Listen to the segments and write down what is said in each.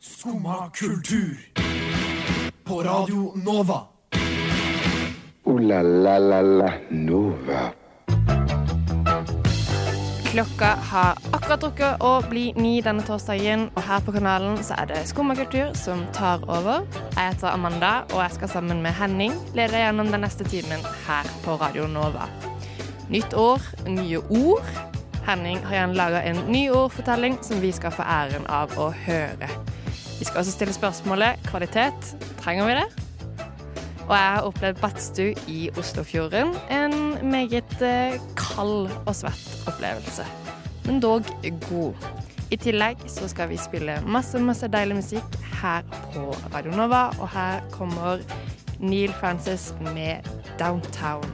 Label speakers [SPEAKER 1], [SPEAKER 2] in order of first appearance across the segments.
[SPEAKER 1] Skumma kultur. På Radio Nova.
[SPEAKER 2] Ooh la la la la Nova.
[SPEAKER 3] Klokka har akkurat drukket å bli ni denne torsdagen, og her på kanalen så er det Skummakultur som tar over. Jeg heter Amanda, og jeg skal sammen med Henning lede deg gjennom den neste timen her på Radio Nova. Nytt år, nye ord. Henning har gjerne laga en ny ordfortelling som vi skal få æren av å høre. Vi skal også stille spørsmålet kvalitet. Trenger vi det? Og jeg har opplevd badstue i Oslofjorden. En meget eh, kald og svett opplevelse, men dog god. I tillegg så skal vi spille masse, masse deilig musikk her på Radio Nova, og her kommer Neil Francis med Downtown.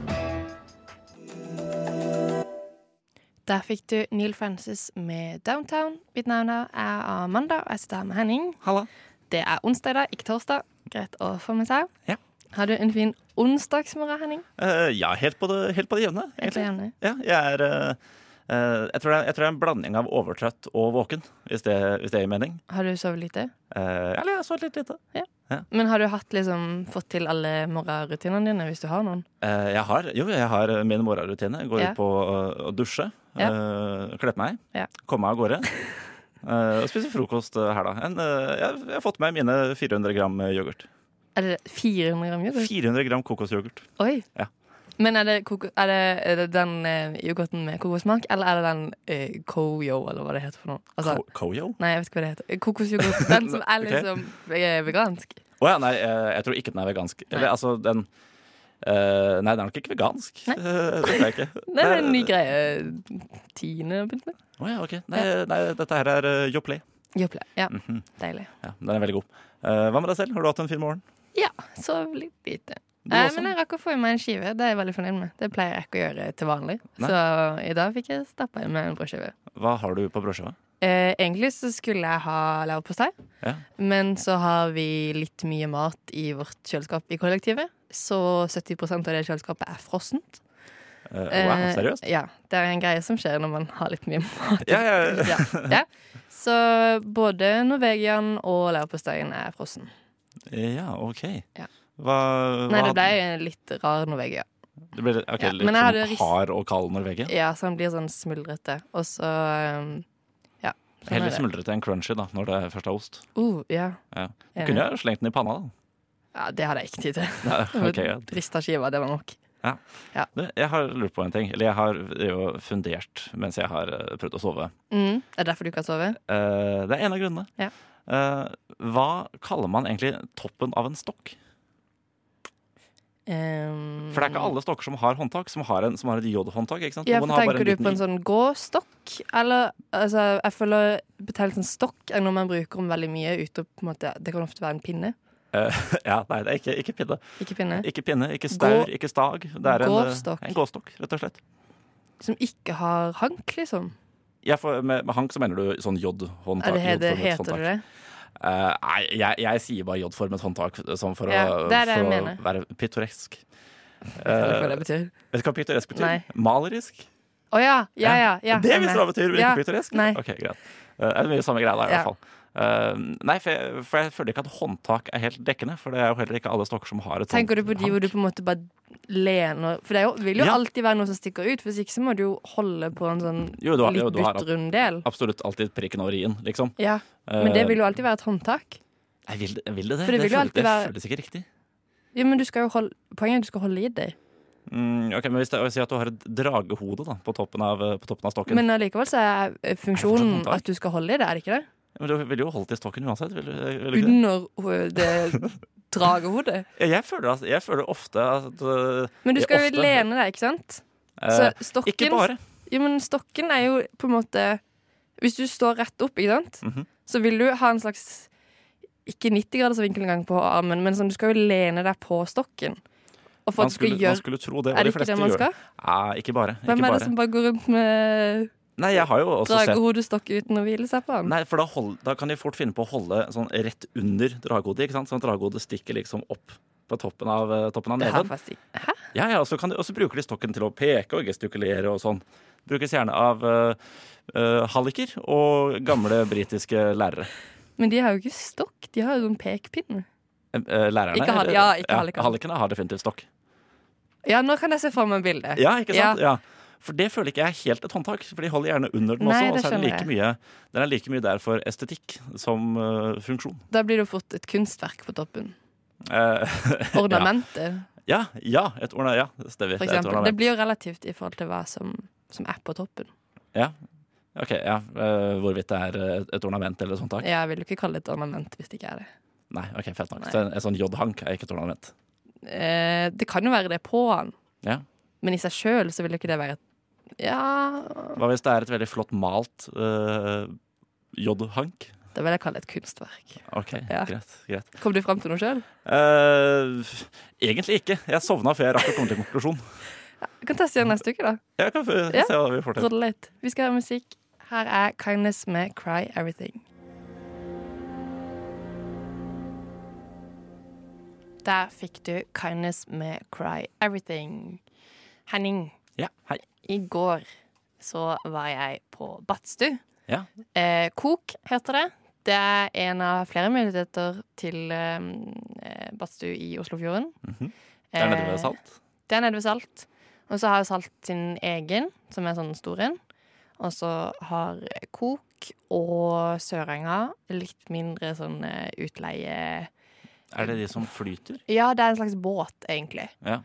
[SPEAKER 3] Der fikk du Neil Francis med Downtown. Mitt navn her er Amanda, og jeg sitter her med Henning.
[SPEAKER 4] Halla.
[SPEAKER 3] Det er onsdag i dag, ikke torsdag. Greit å få med seg.
[SPEAKER 4] Ja.
[SPEAKER 3] Har du en fin onsdagsmorgen, Henning?
[SPEAKER 4] Eh, ja, helt på det, helt på det jevne.
[SPEAKER 3] Helt på det
[SPEAKER 4] egentlig.
[SPEAKER 3] jevne.
[SPEAKER 4] Ja, jeg, er, eh, eh, jeg, tror det er, jeg tror det er en blanding av overtrøtt og våken, hvis det, hvis det gir mening.
[SPEAKER 3] Har du sovet lite?
[SPEAKER 4] Eh, eller jeg har sovet litt lite.
[SPEAKER 3] Men har du hatt, liksom, fått til alle morgenrutinene dine, hvis du har noen?
[SPEAKER 4] Eh, jeg har, jo, jeg har min morgenrutine. Jeg Går
[SPEAKER 3] Ja.
[SPEAKER 4] ut på eh, å dusje,
[SPEAKER 3] Ja.
[SPEAKER 4] eh, kle på meg,
[SPEAKER 3] Ja.
[SPEAKER 4] komme meg av gårde. eh, og spise frokost eh, her, da. En, eh, jeg, jeg har fått med mine 400 gram eh, yoghurt.
[SPEAKER 3] Er det 400 gram yoghurt?
[SPEAKER 4] 400 gram kokosyoghurt.
[SPEAKER 3] Oi!
[SPEAKER 4] Ja.
[SPEAKER 3] Men er det, koko er det, er det den eh, yoghurten med kokossmak, eller er det den eh, Koyo, eller hva det heter for noe? Altså,
[SPEAKER 4] Ko- Koyo?
[SPEAKER 3] nei, jeg vet ikke hva det heter. Eh, Kokosyoghurt. Den som er
[SPEAKER 4] Ok.
[SPEAKER 3] liksom eh, vegansk.
[SPEAKER 4] Å ja, nei, eh, jeg tror ikke den er vegansk. Eller,
[SPEAKER 3] Nei.
[SPEAKER 4] altså, den eh, Nei, den er nok ikke vegansk.
[SPEAKER 3] Nei.
[SPEAKER 4] Eh, det tror jeg ikke.
[SPEAKER 3] Det er en
[SPEAKER 4] eh,
[SPEAKER 3] ny greie Tine har begynt med.
[SPEAKER 4] Å ja, ok. Nei, nei, dette her er uh, Joplay.
[SPEAKER 3] Jopple. Ja,
[SPEAKER 4] Mhm.
[SPEAKER 3] deilig.
[SPEAKER 4] Ja, den er veldig god. Eh, hva med deg selv? Har du hatt en fin morgen?
[SPEAKER 3] Ja, sov litt lite.
[SPEAKER 4] Du
[SPEAKER 3] Eh,
[SPEAKER 4] også?
[SPEAKER 3] men jeg rakk å få i meg en skive. Det er jeg veldig fornøyd med. Det pleier jeg ikke å gjøre til vanlig.
[SPEAKER 4] Nei.
[SPEAKER 3] Så i dag fikk jeg stappa i meg en brødskive.
[SPEAKER 4] Hva har du på brødskiva?
[SPEAKER 3] Eh, egentlig så skulle jeg ha leverpostei,
[SPEAKER 4] Ja.
[SPEAKER 3] men så har vi litt mye mat i vårt kjøleskap i kollektivet. Så 70 av det kjøleskapet er frossent.
[SPEAKER 4] Eh, wow,
[SPEAKER 3] Eh,
[SPEAKER 4] seriøst?
[SPEAKER 3] Ja, Det er en greie som skjer når man har litt mye mat.
[SPEAKER 4] Ja, ja, ja.
[SPEAKER 3] ja, ja. Så både Norvegian og leverposteien er frossen.
[SPEAKER 4] ja OK.
[SPEAKER 3] Ja.
[SPEAKER 4] Hva,
[SPEAKER 3] Nei,
[SPEAKER 4] hva
[SPEAKER 3] det ble en litt rar Norvegia.
[SPEAKER 4] Det ble litt- ok,
[SPEAKER 3] Ja,
[SPEAKER 4] litt
[SPEAKER 3] men jeg
[SPEAKER 4] sånn
[SPEAKER 3] hadde rist-
[SPEAKER 4] hard og kald Norvegia.
[SPEAKER 3] Ja, så han blir sånn smuldrete. Og så um, Ja. sånn
[SPEAKER 4] Heller
[SPEAKER 3] er det.
[SPEAKER 4] smuldrete enn crunchy, da, når det først er ost.
[SPEAKER 3] Uh, ja.
[SPEAKER 4] Ja. Du
[SPEAKER 3] Enig.
[SPEAKER 4] kunne jo slengt den i panna, da.
[SPEAKER 3] ja, det hadde jeg ikke tid til.
[SPEAKER 4] Nei, ok, ja.
[SPEAKER 3] Drista skiva, det var nok.
[SPEAKER 4] Du, jeg har lurt på en ting. Eller jeg har jo fundert mens jeg har eh, prøvd å sove.
[SPEAKER 3] Mm. Det er derfor du ikke har sovet?
[SPEAKER 4] Eh, det er en av grunnene.
[SPEAKER 3] Ja.
[SPEAKER 4] Eh, hva kaller man egentlig toppen av en stokk?
[SPEAKER 3] Um,
[SPEAKER 4] For det er ikke alle stokker som har håndtak, som har, en, som har et jodhåndtak. ikke sant?
[SPEAKER 3] ja,
[SPEAKER 4] Noen
[SPEAKER 3] for
[SPEAKER 4] har bare
[SPEAKER 3] Tenker du
[SPEAKER 4] liten
[SPEAKER 3] på en sånn gåstokk? Eller altså, jeg føler betegnelsen stokk er noe man bruker om veldig mye ute på en måte Det kan ofte være en pinne.
[SPEAKER 4] i- Ja, Nei, det er ikke, ikke pinne.
[SPEAKER 3] Ikke pinne.
[SPEAKER 4] Ikke pinne, ikke staur, ikke stag. Det er en, eh,
[SPEAKER 3] Gårdstokk.
[SPEAKER 4] en gåstokk, rett og slett.
[SPEAKER 3] Som ikke har hank, liksom.
[SPEAKER 4] Ja, for med, med hank så mener du sånn jodhåndtak.
[SPEAKER 3] Er det, det,
[SPEAKER 4] jodformet
[SPEAKER 3] heter det
[SPEAKER 4] håndtak.
[SPEAKER 3] det?
[SPEAKER 4] Eh, nei, jeg, jeg sier bare jodformet håndtak sånn for,
[SPEAKER 3] Ja,
[SPEAKER 4] å,
[SPEAKER 3] det er det
[SPEAKER 4] for
[SPEAKER 3] jeg
[SPEAKER 4] å
[SPEAKER 3] mener.
[SPEAKER 4] være pittoresk.
[SPEAKER 3] Jeg vet ikke
[SPEAKER 4] Eh,
[SPEAKER 3] hva det betyr.
[SPEAKER 4] vet du hva pittoresk betyr?
[SPEAKER 3] Nei.
[SPEAKER 4] Malerisk.
[SPEAKER 3] Å ja, ja, ja, ja.
[SPEAKER 4] Det
[SPEAKER 3] stemmer.
[SPEAKER 4] visste du hva betyr, men
[SPEAKER 3] Ja,
[SPEAKER 4] ikke pittoresk?
[SPEAKER 3] Nei.
[SPEAKER 4] Ok, greit. Eh, Det er mye samme greia da, i
[SPEAKER 3] Ja.
[SPEAKER 4] hvert fall. Eh, nei, for jeg, for jeg føler ikke at håndtak er helt dekkende, for det er jo heller ikke alle stokker som har et sånn
[SPEAKER 3] Tenker du på de hvor du på en måte bare lener For det er jo, vil jo
[SPEAKER 4] Ja.
[SPEAKER 3] alltid være noe som stikker ut, hvis ikke så må du jo holde på en sånn
[SPEAKER 4] Jo, du har- jo,
[SPEAKER 3] litt
[SPEAKER 4] du har-
[SPEAKER 3] butt rund del.
[SPEAKER 4] Absolutt alltid prikken over i-en, liksom.
[SPEAKER 3] Ja. Men det vil jo alltid være et håndtak.
[SPEAKER 4] Nei, vil, det- vil det det?
[SPEAKER 3] For det vil jo
[SPEAKER 4] føles-
[SPEAKER 3] alltid
[SPEAKER 4] det
[SPEAKER 3] være-
[SPEAKER 4] føles ikke riktig.
[SPEAKER 3] Ja, men du skal jo holde, poenget er at du skal holde i deg.
[SPEAKER 4] Mm, ok, men hvis det er å si at du har et dragehode da, på, toppen av, eh, på toppen av stokken men,
[SPEAKER 3] Men allikevel så er eh,
[SPEAKER 4] Er
[SPEAKER 3] funksjonen
[SPEAKER 4] det fortsatt håndtak?
[SPEAKER 3] at du skal holde i det, er det ikke det?
[SPEAKER 4] Du ville jo holdt i stokken uansett, vil, du- eh, vil du
[SPEAKER 3] Under ho-
[SPEAKER 4] ikke det?
[SPEAKER 3] det dragehodet.
[SPEAKER 4] Ja, Jeg føler, at- jeg føler ofte at eh,
[SPEAKER 3] Men du
[SPEAKER 4] Ja,
[SPEAKER 3] skal
[SPEAKER 4] ofte.
[SPEAKER 3] jo lene deg, ikke sant? Så
[SPEAKER 4] eh,
[SPEAKER 3] stokken
[SPEAKER 4] Ikke bare.
[SPEAKER 3] Jo, men stokken er jo på en måte Hvis du står rett opp, ikke sant,
[SPEAKER 4] Mhm.
[SPEAKER 3] så vil du ha en slags Ikke 90 graders vinkel engang på armen, men sånn, du skal jo lene deg på stokken. Og for
[SPEAKER 4] Man
[SPEAKER 3] at du skal
[SPEAKER 4] skulle, man
[SPEAKER 3] gjøre
[SPEAKER 4] skulle tro det,
[SPEAKER 3] Er
[SPEAKER 4] og de
[SPEAKER 3] det ikke
[SPEAKER 4] fleste
[SPEAKER 3] det man
[SPEAKER 4] gjør
[SPEAKER 3] skal?
[SPEAKER 4] det. Nei, ikke bare. Ikke
[SPEAKER 3] Hvem er det
[SPEAKER 4] bare.
[SPEAKER 3] som bare går rundt med
[SPEAKER 4] Nei, jeg har jo også sett
[SPEAKER 3] dragehodestokk uten å hvile seg på den?
[SPEAKER 4] Nei, for da, hold, da kan de fort finne på å holde sånn rett under draghodet. ikke sant? Sånn at draghodet stikker liksom opp på toppen av, eh, toppen av
[SPEAKER 3] Det har jeg
[SPEAKER 4] neven.
[SPEAKER 3] faktisk ikke.
[SPEAKER 4] Ja, ja, og så, kan de, og så bruker de stokken til å peke og gestikulere og sånn. Brukes gjerne av eh, eh, halliker og gamle britiske lærere.
[SPEAKER 3] Men de har jo ikke stokk, de har jo sånn pekepinn.
[SPEAKER 4] Eh, eh, Lærerne?
[SPEAKER 3] Ikke hal-
[SPEAKER 4] eller-
[SPEAKER 3] ja, ikke hallikene.
[SPEAKER 4] Hallikene har definitivt stokk.
[SPEAKER 3] Ja, nå kan jeg se for meg bildet.
[SPEAKER 4] Ja, ikke sant? Ja. For det føler ikke jeg er helt et håndtak, for de holder gjerne under den
[SPEAKER 3] Nei,
[SPEAKER 4] også. Og
[SPEAKER 3] det
[SPEAKER 4] så er den
[SPEAKER 3] skjønner
[SPEAKER 4] like
[SPEAKER 3] jeg.
[SPEAKER 4] mye, den er like mye der for estetikk som eh, funksjon.
[SPEAKER 3] Da blir det jo fort et kunstverk på toppen.
[SPEAKER 4] Eh,
[SPEAKER 3] Ornamentet,
[SPEAKER 4] ja, ja, et orna, ja, det stemmer.
[SPEAKER 3] for
[SPEAKER 4] Det er et
[SPEAKER 3] eksempel.
[SPEAKER 4] ornament.
[SPEAKER 3] Det blir jo relativt i forhold til hva som, som er på toppen.
[SPEAKER 4] Ok, ja, eh, Hvorvidt det er eh, et ornament eller et håndtak?
[SPEAKER 3] Jeg vil jo ikke kalle det et ornament hvis det ikke er det.
[SPEAKER 4] Nei, ok, fett nok.
[SPEAKER 3] Nei.
[SPEAKER 4] Så en, en sånn jodhank er ikke et ornament.
[SPEAKER 3] Eh, det kan jo være det på han,
[SPEAKER 4] Ja.
[SPEAKER 3] men i seg sjøl så vil jo ikke det være et Ja
[SPEAKER 4] Hva hvis det er et veldig flott malt eh, jodhank?
[SPEAKER 3] Da vil jeg kalle det et kunstverk.
[SPEAKER 4] Ok,
[SPEAKER 3] Ja.
[SPEAKER 4] greit. greit.
[SPEAKER 3] Kom du fram til noe sjøl?
[SPEAKER 4] Eh, egentlig ikke. Jeg sovna før jeg rakk å komme til en konklusjon.
[SPEAKER 3] Vi kan teste igjen neste uke, da.
[SPEAKER 4] Jeg kan få-
[SPEAKER 3] Ja.
[SPEAKER 4] se hva vi får til.
[SPEAKER 3] Rodde litt. Vi skal høre musikk. Her er Kindness med Cry Everything. Der fikk du Kindness med Cry Everything. Henning,
[SPEAKER 4] Ja, hei.
[SPEAKER 3] i går så var jeg på Badstue.
[SPEAKER 4] Ja.
[SPEAKER 3] Eh, Kok heter det. Det er en av flere muligheter til eh, Badstue i Oslofjorden.
[SPEAKER 4] Mhm. Det er nede ved
[SPEAKER 3] Eh,
[SPEAKER 4] Salt.
[SPEAKER 3] det er nede ved Salt. Og så har jo Salt sin egen, som er sånn stor en. Og så har Kok og Sørenga litt mindre sånn eh, utleie
[SPEAKER 4] Er det de som flyter?
[SPEAKER 3] Ja, det er en slags båt, egentlig.
[SPEAKER 4] Ja.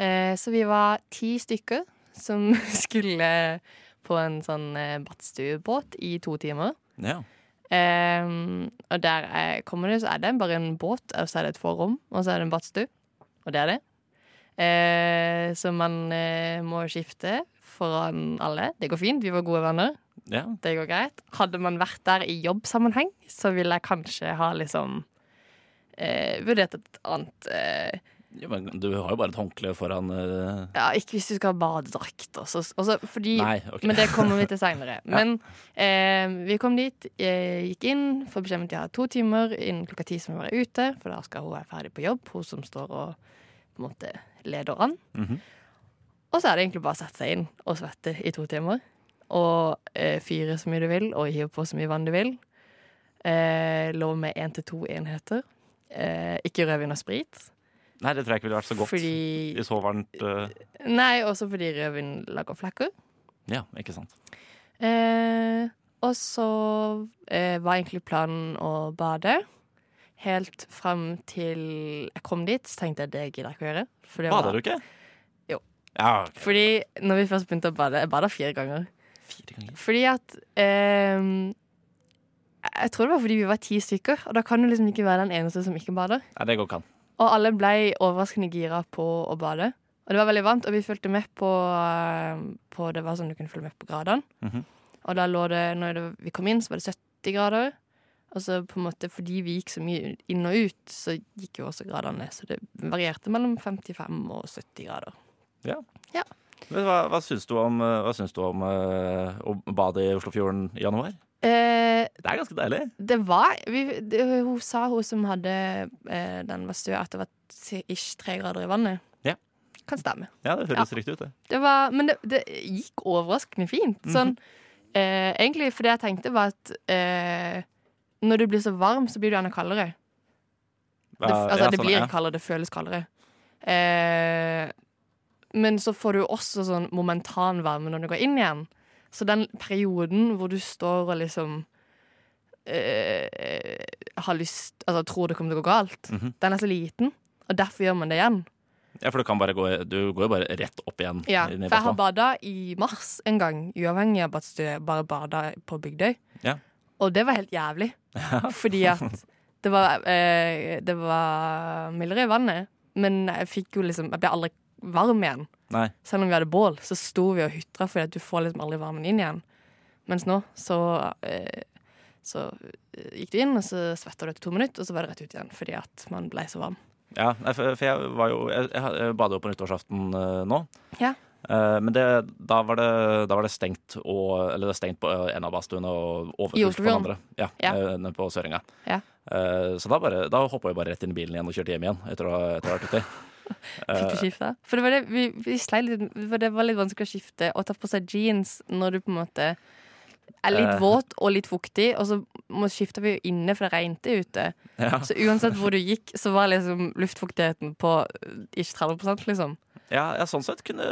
[SPEAKER 3] Eh, så vi var ti stykker som skulle på en sånn eh, badstuebåt i to timer.
[SPEAKER 4] Ja.
[SPEAKER 3] Ehm, og der jeg kommer det, så er det bare en båt, og så er det et forrom, og så er det en badstue. Og det er det. Eh, så man eh, må skifte foran alle. Det går fint, vi var gode venner.
[SPEAKER 4] ja.
[SPEAKER 3] Det går greit. Hadde man vært der i jobbsammenheng, så ville jeg kanskje ha liksom eh, vurdert et annet eh,
[SPEAKER 4] Jo, men du har jo bare et håndkle foran eh,
[SPEAKER 3] Ja, ikke hvis du skal ha badedrakt. Og så- og så- fordi
[SPEAKER 4] Nei, ok.
[SPEAKER 3] Men det kommer vi til seinere. Men eh, vi kom dit, eh, gikk inn, får beskjed om at de har to timer innen klokka ti som vi være ute, for da skal hun være ferdig på jobb, hun som står og på en måte leder an.
[SPEAKER 4] Mhm.
[SPEAKER 3] Og så er det egentlig bare å sette seg inn og svette i to timer. Og eh, fyre så mye du vil, og hive på så mye vann du vil. Eh, lov med én til to enheter. Eh, ikke rødvin og sprit.
[SPEAKER 4] Nei, det tror jeg ikke ville vært så godt
[SPEAKER 3] Fordi
[SPEAKER 4] i så varmt eh,
[SPEAKER 3] Nei, også fordi rødvin lager flekker.
[SPEAKER 4] Ja, ikke sant.
[SPEAKER 3] Eh, og så eh, var egentlig planen å bade. Helt fram til jeg kom dit, så tenkte jeg det gidder jeg ikke å gjøre. For det var-
[SPEAKER 4] Bader du ikke?
[SPEAKER 3] Jo.
[SPEAKER 4] Ja, ok.
[SPEAKER 3] Fordi når vi først begynte å bade Jeg bada fire ganger.
[SPEAKER 4] Fire ganger.
[SPEAKER 3] Fordi at eh, Jeg tror det var fordi vi var ti stykker, og da kan du liksom ikke være den eneste som ikke bader.
[SPEAKER 4] Nei, det går ikke an.
[SPEAKER 3] Og alle ble overraskende gira på å bade. Og det var veldig varmt, og vi fulgte med på, eh, på Det var sånn du kunne følge med på gradene.
[SPEAKER 4] Mhm.
[SPEAKER 3] Og da lå det Når det, vi kom inn, så var det 70 grader. Og så på en måte fordi vi gikk så mye inn og ut, så gikk jo også gradene ned. Så det varierte mellom 55 og 70 grader.
[SPEAKER 4] Men hva, hva syns du om, eh, hva syns du om eh, å bade i Oslofjorden i januar?
[SPEAKER 3] Eh,
[SPEAKER 4] Det er ganske deilig.
[SPEAKER 3] det var vi, det, Hun sa, hun som hadde eh, den badstua, at det var si- ish tre grader i vannet.
[SPEAKER 4] Ja.
[SPEAKER 3] Kan stemme.
[SPEAKER 4] Ja, det høres riktig ut, det.
[SPEAKER 3] Det var, men det, det gikk overraskende fint.
[SPEAKER 4] Mhm.
[SPEAKER 3] Sånn, eh, egentlig, for det jeg tenkte, var at eh, når du blir så varm, så blir du gjerne kaldere. Det,
[SPEAKER 4] Ja,
[SPEAKER 3] altså,
[SPEAKER 4] ja,
[SPEAKER 3] det
[SPEAKER 4] sånn,
[SPEAKER 3] blir
[SPEAKER 4] ja.
[SPEAKER 3] kaldere, det føles kaldere. Eh, men så får du jo også sånn momentan varme når du går inn igjen. Så den perioden hvor du står og liksom eh, har lyst Altså tror det kommer til å gå galt,
[SPEAKER 4] Mhm.
[SPEAKER 3] den er så liten. Og derfor gjør man det igjen.
[SPEAKER 4] Ja, for du kan bare gå Du går jo bare rett opp igjen.
[SPEAKER 3] Ja,
[SPEAKER 4] i-
[SPEAKER 3] for
[SPEAKER 4] Eh, ned
[SPEAKER 3] jeg har
[SPEAKER 4] på
[SPEAKER 3] bada i mars en gang, uavhengig av badstue, bare bada på Bygdøy.
[SPEAKER 4] Ja.
[SPEAKER 3] Og det var helt jævlig. Fordi at det var, eh, det var mildere i vannet, men jeg fikk jo liksom Jeg ble aldri varm igjen.
[SPEAKER 4] Nei.
[SPEAKER 3] Selv om vi hadde bål, så sto vi og hytra fordi at du får liksom aldri varmen inn igjen. Mens nå så eh, så eh, gikk du inn, og så svetta du etter to minutter, og så var det rett ut igjen fordi at man ble så varm.
[SPEAKER 4] Ja, nei, for, for jeg var jo Jeg, jeg badet jo på nyttårsaften eh, nå.
[SPEAKER 3] Ja.
[SPEAKER 4] Eh, men det, da, var det, da var det stengt og, Eller det er stengt på eh, en av badstuene og overfullt på den
[SPEAKER 3] Oslofjorden?
[SPEAKER 4] andre. Ja,
[SPEAKER 3] Ja.
[SPEAKER 4] eh, nede på Sørenga.
[SPEAKER 3] Ja.
[SPEAKER 4] Eh, så da, bare- da hoppa vi bare rett inn i bilen igjen og kjørte hjem igjen. Etter å, etter å ha vært ute.
[SPEAKER 3] Fikk
[SPEAKER 4] Eh,
[SPEAKER 3] du skifta? For det var, det, vi, vi slei litt, for det var litt vanskelig å skifte og ta på seg jeans når du på en måte er
[SPEAKER 4] Eh.
[SPEAKER 3] litt våt og litt fuktig, og så må- skifta vi jo inne, for det regnet ute.
[SPEAKER 4] Ja,
[SPEAKER 3] Så uansett hvor du gikk, så var liksom luftfuktigheten på eh, ikke 30 liksom.
[SPEAKER 4] ja, ja sånn sett kunne,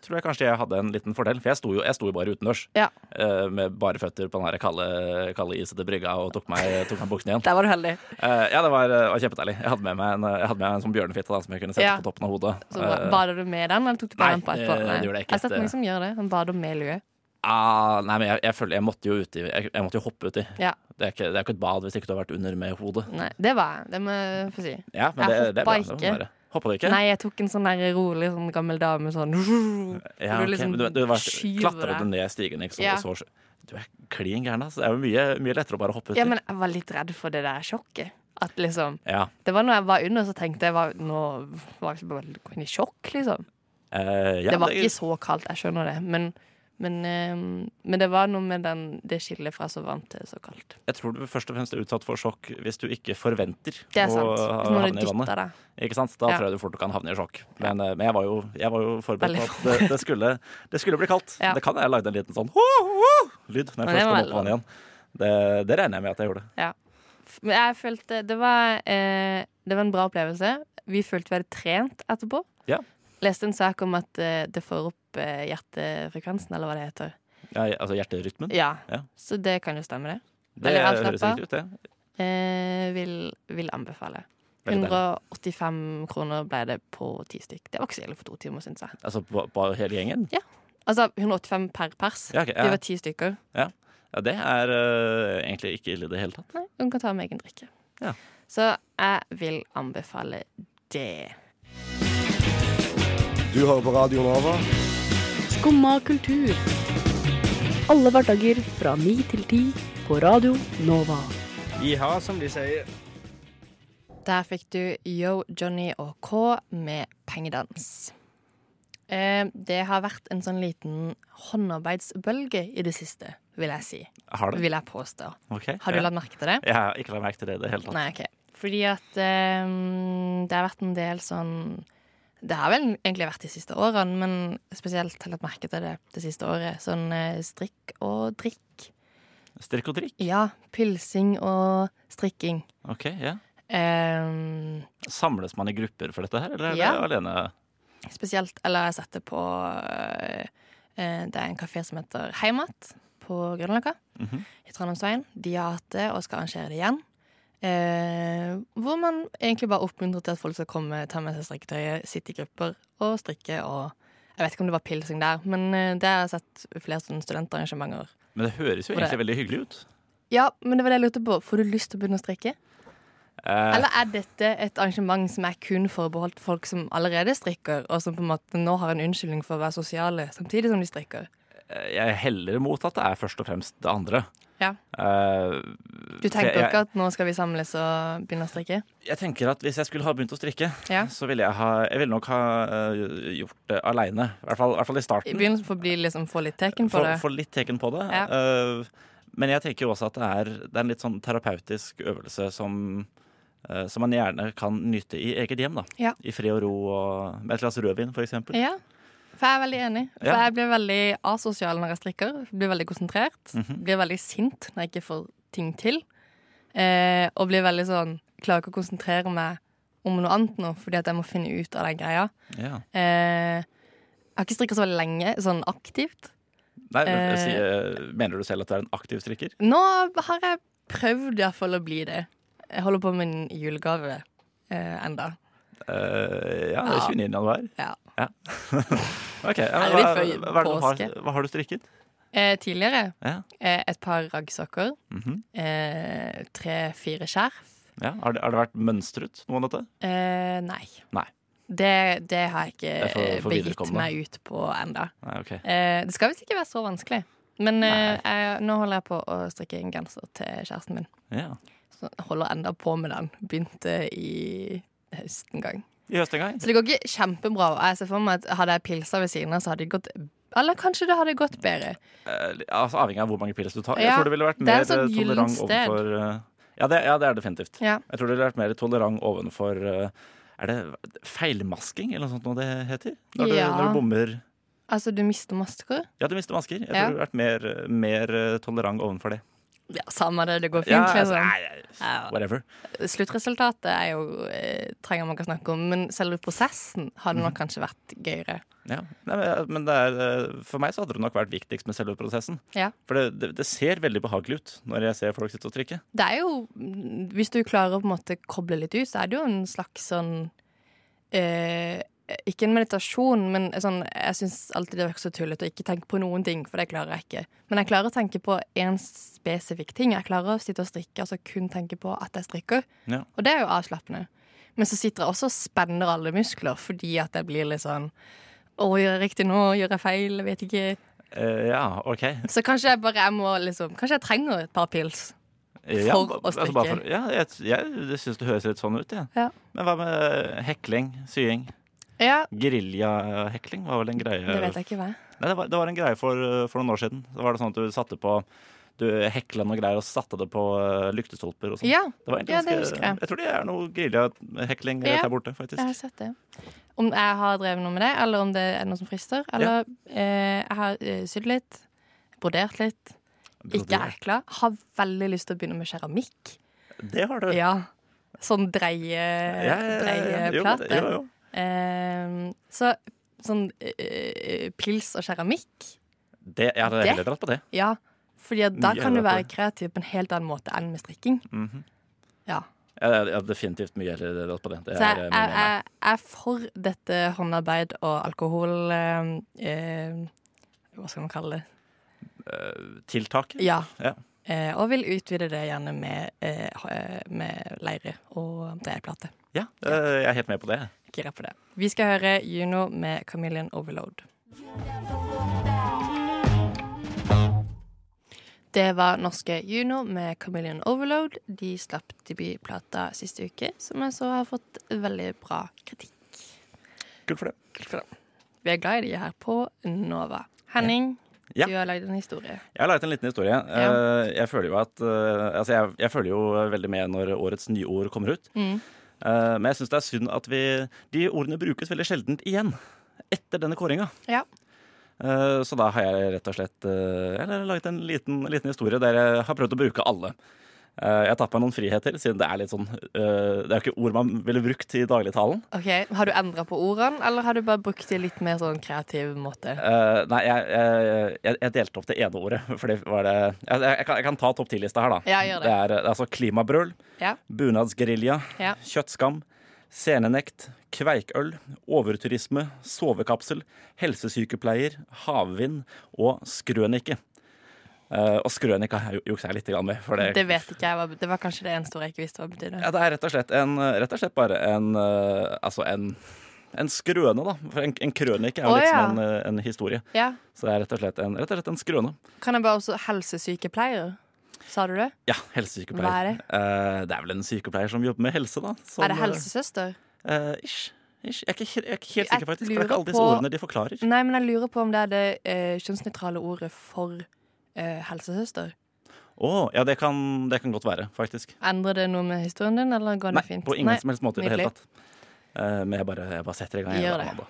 [SPEAKER 4] tror jeg kanskje jeg hadde en liten fordel. For jeg sto jo, jeg sto jo bare utendørs
[SPEAKER 3] Ja.
[SPEAKER 4] eh, med bare føtter på den her kalde, kalde isete brygga og tok meg, tok meg buksene igjen.
[SPEAKER 3] Der var du heldig.
[SPEAKER 4] Eh, ja, det var, det var kjempedeilig. Jeg hadde med meg en, jeg hadde med meg en sånn bjørnefitte da, som jeg kunne sette
[SPEAKER 3] Ja.
[SPEAKER 4] på toppen av hodet.
[SPEAKER 3] Så bra.
[SPEAKER 4] Eh,
[SPEAKER 3] Bader du med den, eller tok du
[SPEAKER 4] nei,
[SPEAKER 3] bare den på
[SPEAKER 4] det-
[SPEAKER 3] etterpå?
[SPEAKER 4] det gjorde jeg ikke.
[SPEAKER 3] Jeg har sett mange som gjør det. Han bader med lue.
[SPEAKER 4] ah, nei, men jeg, jeg føler jeg måtte jo uti. Jeg, jeg måtte jo hoppe uti.
[SPEAKER 3] Ja.
[SPEAKER 4] Det er ikke, det er ikke et bad hvis ikke du har vært under med hodet.
[SPEAKER 3] Nei, det var jeg. Det må jeg få si.
[SPEAKER 4] Ja, men
[SPEAKER 3] Jeg
[SPEAKER 4] det, det er bra.
[SPEAKER 3] hoppa
[SPEAKER 4] Det må
[SPEAKER 3] ikke.
[SPEAKER 4] være. Hoppa du ikke?
[SPEAKER 3] Nei, jeg tok en sånn der rolig sånn gammel dame sånn
[SPEAKER 4] ja,
[SPEAKER 3] du
[SPEAKER 4] ok,
[SPEAKER 3] liksom
[SPEAKER 4] men du, du var,
[SPEAKER 3] skyver
[SPEAKER 4] klatret
[SPEAKER 3] deg.
[SPEAKER 4] du ned stigen, ikke sant?
[SPEAKER 3] Ja.
[SPEAKER 4] og så- Du er klin gæren, altså. Det er jo mye, mye lettere å bare hoppe uti.
[SPEAKER 3] Ja, men jeg var litt redd for det der sjokket. At liksom
[SPEAKER 4] Ja.
[SPEAKER 3] Det var når jeg var under, så tenkte jeg var, Nå var jeg bare gå inn i sjokk, liksom.
[SPEAKER 4] Eh, ja,
[SPEAKER 3] det var ikke så kaldt, jeg skjønner det. Men, men, eh, men det var noe med den, det skillet fra så varmt til så kaldt.
[SPEAKER 4] Jeg tror du først og fremst er utsatt for sjokk hvis du ikke forventer
[SPEAKER 3] Det er
[SPEAKER 4] å
[SPEAKER 3] sant. Hvis noen
[SPEAKER 4] havne
[SPEAKER 3] hadde
[SPEAKER 4] i vannet.
[SPEAKER 3] dytta deg.
[SPEAKER 4] Ikke sant? Da
[SPEAKER 3] Ja.
[SPEAKER 4] tror jeg du fort du kan havne i sjokk. Men, eh, men jeg, var jo, jeg var jo forberedt
[SPEAKER 3] Veldig
[SPEAKER 4] på at det, det, skulle, det skulle bli kaldt.
[SPEAKER 3] Ja.
[SPEAKER 4] Det kan jeg lagde en liten sånn «Ho, ho!» lyd når
[SPEAKER 3] Men
[SPEAKER 4] jeg
[SPEAKER 3] det var
[SPEAKER 4] først kom opp på vannet igjen. Det, det regner jeg med at jeg gjorde.
[SPEAKER 3] Men jeg følte det var, eh, det var en bra opplevelse. Vi følte vi hadde trent etterpå.
[SPEAKER 4] Ja.
[SPEAKER 3] Leste en sak om at eh, det får opp eh, hjertefrekvensen, eller hva det heter.
[SPEAKER 4] Ja, altså hjerterytmen.
[SPEAKER 3] Ja.
[SPEAKER 4] Ja.
[SPEAKER 3] Så det kan jo stemme, det.
[SPEAKER 4] Det
[SPEAKER 3] Veldig
[SPEAKER 4] høres
[SPEAKER 3] avslappet.
[SPEAKER 4] riktig ut, det.
[SPEAKER 3] Eh, vil, vil anbefale.
[SPEAKER 4] Veldig deilig.
[SPEAKER 3] 185 kroner ble det på ti stykk. Det var ikke så ille for to timer, syns jeg.
[SPEAKER 4] Altså på, på hele gjengen.
[SPEAKER 3] Altså 185 per pers.
[SPEAKER 4] Ja, ok, ja.
[SPEAKER 3] Vi var ti stykker.
[SPEAKER 4] Ja, det er eh, egentlig ikke ille i det hele tatt.
[SPEAKER 3] Nei, hun kan ta med egen drikke.
[SPEAKER 4] Ja.
[SPEAKER 3] Så jeg vil anbefale det.
[SPEAKER 1] Du hører på Radio Nova.
[SPEAKER 5] Skumma kultur. Alle hverdager fra ni til ti på Radio Nova.
[SPEAKER 6] Jiha, som de sier.
[SPEAKER 3] Der fikk du Yo, Johnny og K med pengedans. Eh, det har vært en sånn liten håndarbeidsbølge i det siste, vil jeg si.
[SPEAKER 4] Har det?
[SPEAKER 3] Vil jeg påstå.
[SPEAKER 4] Ok.
[SPEAKER 3] Har du
[SPEAKER 4] ja.
[SPEAKER 3] lagt merke til det?
[SPEAKER 4] Jeg har ikke lagt merke til det i det hele tatt.
[SPEAKER 3] Nei, ok. Fordi at eh, det har vært en del sånn Det har vel egentlig vært de siste årene, men spesielt har jeg lagt merke til det det siste året. Sånn eh, strikk og drikk.
[SPEAKER 4] Strikk og drikk.
[SPEAKER 3] Ja, pylsing og strikking.
[SPEAKER 4] Ok, ja.
[SPEAKER 3] Eh,
[SPEAKER 4] Samles man i grupper for dette her, eller er
[SPEAKER 3] Ja.
[SPEAKER 4] det alene?
[SPEAKER 3] spesielt Eller jeg setter på eh, eh, Det er en kafé som heter Heimat på Grønløkka.
[SPEAKER 4] Mhm.
[SPEAKER 3] I Trondheimsveien. De har hatt det og skal arrangere det igjen. Eh, hvor man egentlig bare oppmuntrer til at folk skal komme, ta med seg strikketøyet, sitte i grupper og strikke og Jeg vet ikke om det var pilsing der, men eh, det har jeg sett flere sånne studentarrangementer.
[SPEAKER 4] Men det høres jo
[SPEAKER 3] Hvor det-
[SPEAKER 4] egentlig veldig hyggelig ut.
[SPEAKER 3] Ja, men det var det jeg lurte på. Får du lyst til å begynne å strikke?
[SPEAKER 4] Eh,
[SPEAKER 3] Eller er dette et arrangement som er kun forbeholdt folk som allerede strikker, og som på en måte nå har en unnskyldning for å være sosiale samtidig som de strikker?
[SPEAKER 4] Eh, jeg heller mot at det er først og fremst det andre.
[SPEAKER 3] Ja.
[SPEAKER 4] Eh,
[SPEAKER 3] Du tenker
[SPEAKER 4] jeg-
[SPEAKER 3] ikke at nå skal vi samles og begynne å strikke?
[SPEAKER 4] jeg tenker at hvis jeg skulle ha begynt å strikke,
[SPEAKER 3] Ja.
[SPEAKER 4] så ville jeg, ha, jeg ville nok ha eh, gjort det aleine. I, hvert fall- i hvert fall i
[SPEAKER 3] I
[SPEAKER 4] starten.
[SPEAKER 3] begynnelsen får bli liksom få litt teken på
[SPEAKER 4] Få
[SPEAKER 3] det.
[SPEAKER 4] få litt teken på det.
[SPEAKER 3] Ja.
[SPEAKER 4] Eh, men jeg tenker jo også at det er, det er en litt sånn terapeutisk øvelse som eh, som man gjerne kan nyte i eget hjem. da
[SPEAKER 3] Ja. Eh.
[SPEAKER 4] I fred og ro og med et glass rødvin, f.eks. eksempel
[SPEAKER 3] Ja. For jeg er veldig enig. For
[SPEAKER 4] Ja.
[SPEAKER 3] jeg blir veldig asosial når jeg strikker. Blir veldig konsentrert.
[SPEAKER 4] Mhm.
[SPEAKER 3] Blir veldig sint når jeg ikke får ting til. Eh, og blir veldig sånn Klarer ikke å konsentrere meg om noe annet nå, fordi at jeg må finne ut av den greia.
[SPEAKER 4] Ja.
[SPEAKER 3] Eh, jeg har ikke strikka så veldig lenge, sånn aktivt.
[SPEAKER 4] Nei, men,
[SPEAKER 3] Eh.
[SPEAKER 4] sier- Mener du selv at du er en aktiv strikker?
[SPEAKER 3] Nå har jeg prøvd iallfall å bli det. Jeg holder på med en julegave eh, enda.
[SPEAKER 4] Eh, ja, det
[SPEAKER 3] Ja.
[SPEAKER 4] er 29. januar.
[SPEAKER 3] Ja.
[SPEAKER 4] Ok, ja, men
[SPEAKER 3] Er det
[SPEAKER 4] hva,
[SPEAKER 3] litt før
[SPEAKER 4] hva, er det du
[SPEAKER 3] påske?
[SPEAKER 4] har, hva har du strikket?
[SPEAKER 3] Eh, tidligere
[SPEAKER 4] Ja.
[SPEAKER 3] eh, et par raggsokker.
[SPEAKER 4] Mhm.
[SPEAKER 3] eh, Tre-fire skjerf.
[SPEAKER 4] Ja, har, det, har det vært mønstret noe av dette?
[SPEAKER 3] Eh, nei.
[SPEAKER 4] Nei.
[SPEAKER 3] Det, det har jeg ikke
[SPEAKER 4] Det er for-
[SPEAKER 3] eh,
[SPEAKER 4] for
[SPEAKER 3] begitt
[SPEAKER 4] viderekommende.
[SPEAKER 3] meg ut på enda.
[SPEAKER 4] Nei, ok.
[SPEAKER 3] Eh, det skal visst ikke være så vanskelig. Men eh, jeg, nå holder jeg på å strikke en genser til kjæresten min.
[SPEAKER 4] Ja.
[SPEAKER 3] Så jeg holder enda på med den. Begynte i høst en gang.
[SPEAKER 4] I høst en gang?
[SPEAKER 3] Så det går ikke kjempebra. Og jeg ser for meg at hadde jeg pilsa ved siden av, så hadde det gått Eller kanskje det hadde gått bedre.
[SPEAKER 4] Eh, altså, avhengig av hvor mange pils du tar.
[SPEAKER 3] Ja,
[SPEAKER 4] Jeg tror det ville vært
[SPEAKER 3] det er
[SPEAKER 4] mer
[SPEAKER 3] et sånt
[SPEAKER 4] eh,
[SPEAKER 3] gyllent
[SPEAKER 4] tolerant
[SPEAKER 3] sted.
[SPEAKER 4] overfor eh, ja, det, ja, det er definitivt.
[SPEAKER 3] Ja.
[SPEAKER 4] Jeg tror det ville vært mer tolerant overfor eh, Er det feilmasking, eller noe sånt noe det heter? Når du,
[SPEAKER 3] Ja.
[SPEAKER 4] når du bommer
[SPEAKER 3] Altså, du mister masker?
[SPEAKER 4] Ja, du mister masker. Jeg tror
[SPEAKER 3] Ja.
[SPEAKER 4] du har vært mer, mer eh, tolerant overfor det.
[SPEAKER 7] Ja, Samme det, det går fint.
[SPEAKER 4] Ja, altså,
[SPEAKER 7] liksom.
[SPEAKER 4] nei, nei,
[SPEAKER 7] Ja.
[SPEAKER 4] whatever.
[SPEAKER 3] Sluttresultatet er jo, eh, trenger man ikke å snakke om, men selve prosessen hadde
[SPEAKER 4] Mhm.
[SPEAKER 3] nok kanskje vært gøyere.
[SPEAKER 4] Ja. Nei, men- men det er, eh, for meg så hadde det nok vært viktigst med selve prosessen.
[SPEAKER 3] Ja.
[SPEAKER 4] For det, det, det ser veldig behagelig ut når jeg ser folk sitte og trykke.
[SPEAKER 3] Det er jo, mm, hvis du klarer å på en måte koble litt ut, så er det jo en slags sånn eh, Ikke en meditasjon, men en sånn, jeg syns alltid det virker så tullete å ikke tenke på noen ting, for det klarer jeg ikke. Men jeg klarer å tenke på én spesifikk ting. Jeg klarer å sitte og strikke, altså kun tenke på at jeg strikker.
[SPEAKER 4] Ja.
[SPEAKER 3] Og det er jo avslappende. Men så sitter jeg også og spenner alle muskler fordi at jeg blir litt sånn å, gjør jeg riktig nå? Gjør jeg feil? Jeg vet ikke.
[SPEAKER 4] Eh, ja, OK.
[SPEAKER 3] Så kanskje jeg bare jeg må liksom Kanskje jeg trenger et par pils.
[SPEAKER 4] Ja,
[SPEAKER 3] For
[SPEAKER 4] ba- altså,
[SPEAKER 3] å strikke.
[SPEAKER 4] bare for- ja, jeg, jeg syns det høres litt sånn ut, jeg.
[SPEAKER 3] Ja.
[SPEAKER 4] Men hva med hekling? Sying?
[SPEAKER 3] Ja,
[SPEAKER 4] Geriljahekling var vel en greie
[SPEAKER 3] det vet jeg ikke hva er.
[SPEAKER 4] Nei, det, var, det var en greie for, for noen år siden. Da var det sånn at du satte på Du hekla noen greier og satte det på eh, lyktestolper og sånn.
[SPEAKER 3] Ja,
[SPEAKER 4] Det var egentlig
[SPEAKER 3] ja, det
[SPEAKER 4] ganske-
[SPEAKER 3] husker jeg.
[SPEAKER 4] Jeg tror det er noe geriljahekling
[SPEAKER 3] Ja.
[SPEAKER 4] rett der borte, faktisk.
[SPEAKER 3] jeg har sett det. Om jeg har drevet noe med det, eller om det er noe som frister. Eller eh, jeg har eh, sydd litt, brodert litt, ikke
[SPEAKER 4] Brodert.
[SPEAKER 3] hekla. Har veldig lyst til å begynne med keramikk.
[SPEAKER 4] Det har du.
[SPEAKER 3] Ja. Sånn dreie,
[SPEAKER 4] Ja, ja, ja, ja. Jo, men
[SPEAKER 3] dreieplate.
[SPEAKER 4] det- jo, jo.
[SPEAKER 3] Eh, så sånn eh, pils og keramikk,
[SPEAKER 4] Det, jeg hadde
[SPEAKER 3] Det?
[SPEAKER 4] heller dratt på det.
[SPEAKER 3] ja. Fordi at da
[SPEAKER 4] Mye
[SPEAKER 3] kan du
[SPEAKER 4] heller
[SPEAKER 3] være
[SPEAKER 4] på det.
[SPEAKER 3] kreativ på en helt annen måte enn med strikking.
[SPEAKER 4] Mhm.
[SPEAKER 3] Ja.
[SPEAKER 4] Jeg jeg hadde definitivt mye heller dratt på det. det
[SPEAKER 3] Så jeg,
[SPEAKER 4] er, eh, min
[SPEAKER 3] jeg,
[SPEAKER 4] mening.
[SPEAKER 3] jeg er for dette håndarbeid og alkohol eh, eh, Hva skal man kalle det?
[SPEAKER 4] Tiltaket?
[SPEAKER 3] Ja.
[SPEAKER 4] Ja.
[SPEAKER 3] Eh, og vil utvide det gjerne med, eh, ha- eh, med leire og dreieplate.
[SPEAKER 4] Ja, eh, jeg er helt med på det.
[SPEAKER 3] Gira på det. Vi skal høre Juno med 'Chameleon Overload'. Det var norske Juno med 'Chameleon Overload'. De slapp debutplata siste uke, som jeg så har fått veldig bra kritikk.
[SPEAKER 4] Kult for det.
[SPEAKER 3] Vi er glad i de her på Nova. Henning,
[SPEAKER 4] Ja.
[SPEAKER 3] du har lagd en historie.
[SPEAKER 4] Jeg har laget en liten historie. Eh, Jeg føler jo at eh, Altså, jeg, jeg følger jo veldig med når årets nyord kommer ut.
[SPEAKER 3] Mm.
[SPEAKER 4] Eh, Men jeg syns det er synd at vi De ordene brukes veldig sjeldent igjen etter denne kåringa.
[SPEAKER 3] Ja.
[SPEAKER 4] Eh, Så da har jeg rett og slett eh, eller, laget en liten, liten historie der jeg har prøvd å bruke alle. Eh, Jeg har tatt meg noen friheter, siden det er litt sånn eh, Det er jo ikke ord man ville brukt i dagligtalen.
[SPEAKER 3] Ok, Har du endra på ordene, eller har du bare brukt det litt mer sånn kreativ måte?
[SPEAKER 4] Eh, nei, jeg, jeg, jeg- jeg delte opp det ene ordet. For det var det Jeg, jeg, kan, jeg kan ta topp ti-lista her, da.
[SPEAKER 3] Ja, gjør det.
[SPEAKER 4] det er eh, altså klimabrøl,
[SPEAKER 3] Ja.
[SPEAKER 4] bunadsgerilja,
[SPEAKER 3] Ja.
[SPEAKER 4] kjøttskam, scenenekt, kveikøl, overturisme, sovekapsel, helsesykepleier, havvind og skrønike. Eh, og skrønika har jeg ju- juksa jeg litt grann med. For det,
[SPEAKER 3] Det vet ikke jeg. hva- Det var kanskje det eneste ordet jeg ikke visste hva betydde.
[SPEAKER 4] ja, det er rett og slett, en, rett og slett bare en eh, Altså en, en skrøne, da. For en, en krønike er jo
[SPEAKER 3] Å,
[SPEAKER 4] liksom
[SPEAKER 3] ja.
[SPEAKER 4] en, eh, en historie.
[SPEAKER 3] Ja.
[SPEAKER 4] Så det er rett og slett en, rett og slett en skrøne.
[SPEAKER 3] Kan jeg bare også helsesykepleier? Sa du det?
[SPEAKER 4] Ja, helsesykepleier.
[SPEAKER 3] Hva er det?
[SPEAKER 4] Eh, det er vel en sykepleier som jobber med helse, da. Som,
[SPEAKER 3] er det helsesøster?
[SPEAKER 4] eh, ish. Ish. Jeg, er ikke, he- jeg er ikke helt
[SPEAKER 3] Jeg
[SPEAKER 4] sikker, faktisk. For det er
[SPEAKER 3] lurer
[SPEAKER 4] ikke alle disse
[SPEAKER 3] på- Mm.
[SPEAKER 4] ordene de forklarer.
[SPEAKER 3] Nei, men jeg lurer på om det er det eh, kjønnsnøytrale ordet for eh, helsesøster.
[SPEAKER 4] Å, ja, det kan, det kan godt være, faktisk.
[SPEAKER 3] Endrer det noe med historien din, eller går det
[SPEAKER 4] Nei,
[SPEAKER 3] fint?
[SPEAKER 4] på ingen
[SPEAKER 3] Nei,
[SPEAKER 4] som helst måte i det hele
[SPEAKER 3] nydelig.
[SPEAKER 4] tatt. Eh, men jeg bare, jeg bare setter i gang.
[SPEAKER 3] Gjør
[SPEAKER 4] det.
[SPEAKER 3] det.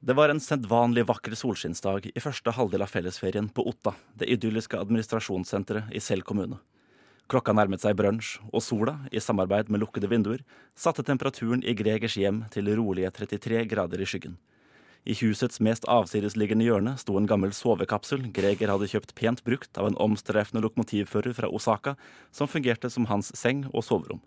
[SPEAKER 4] det var en sedvanlig vakker solskinnsdag i første halvdel av fellesferien på Otta, det idylliske administrasjonssenteret i Sel kommune. Klokka nærmet seg brunsj, og sola, i samarbeid med lukkede vinduer, satte temperaturen i Gregers hjem til rolige 33 grader i skyggen. I husets mest avsidesliggende hjørne sto en gammel sovekapsel Greger hadde kjøpt pent brukt av en omstreifende lokomotivfører fra Osaka, som fungerte som hans seng og soverom.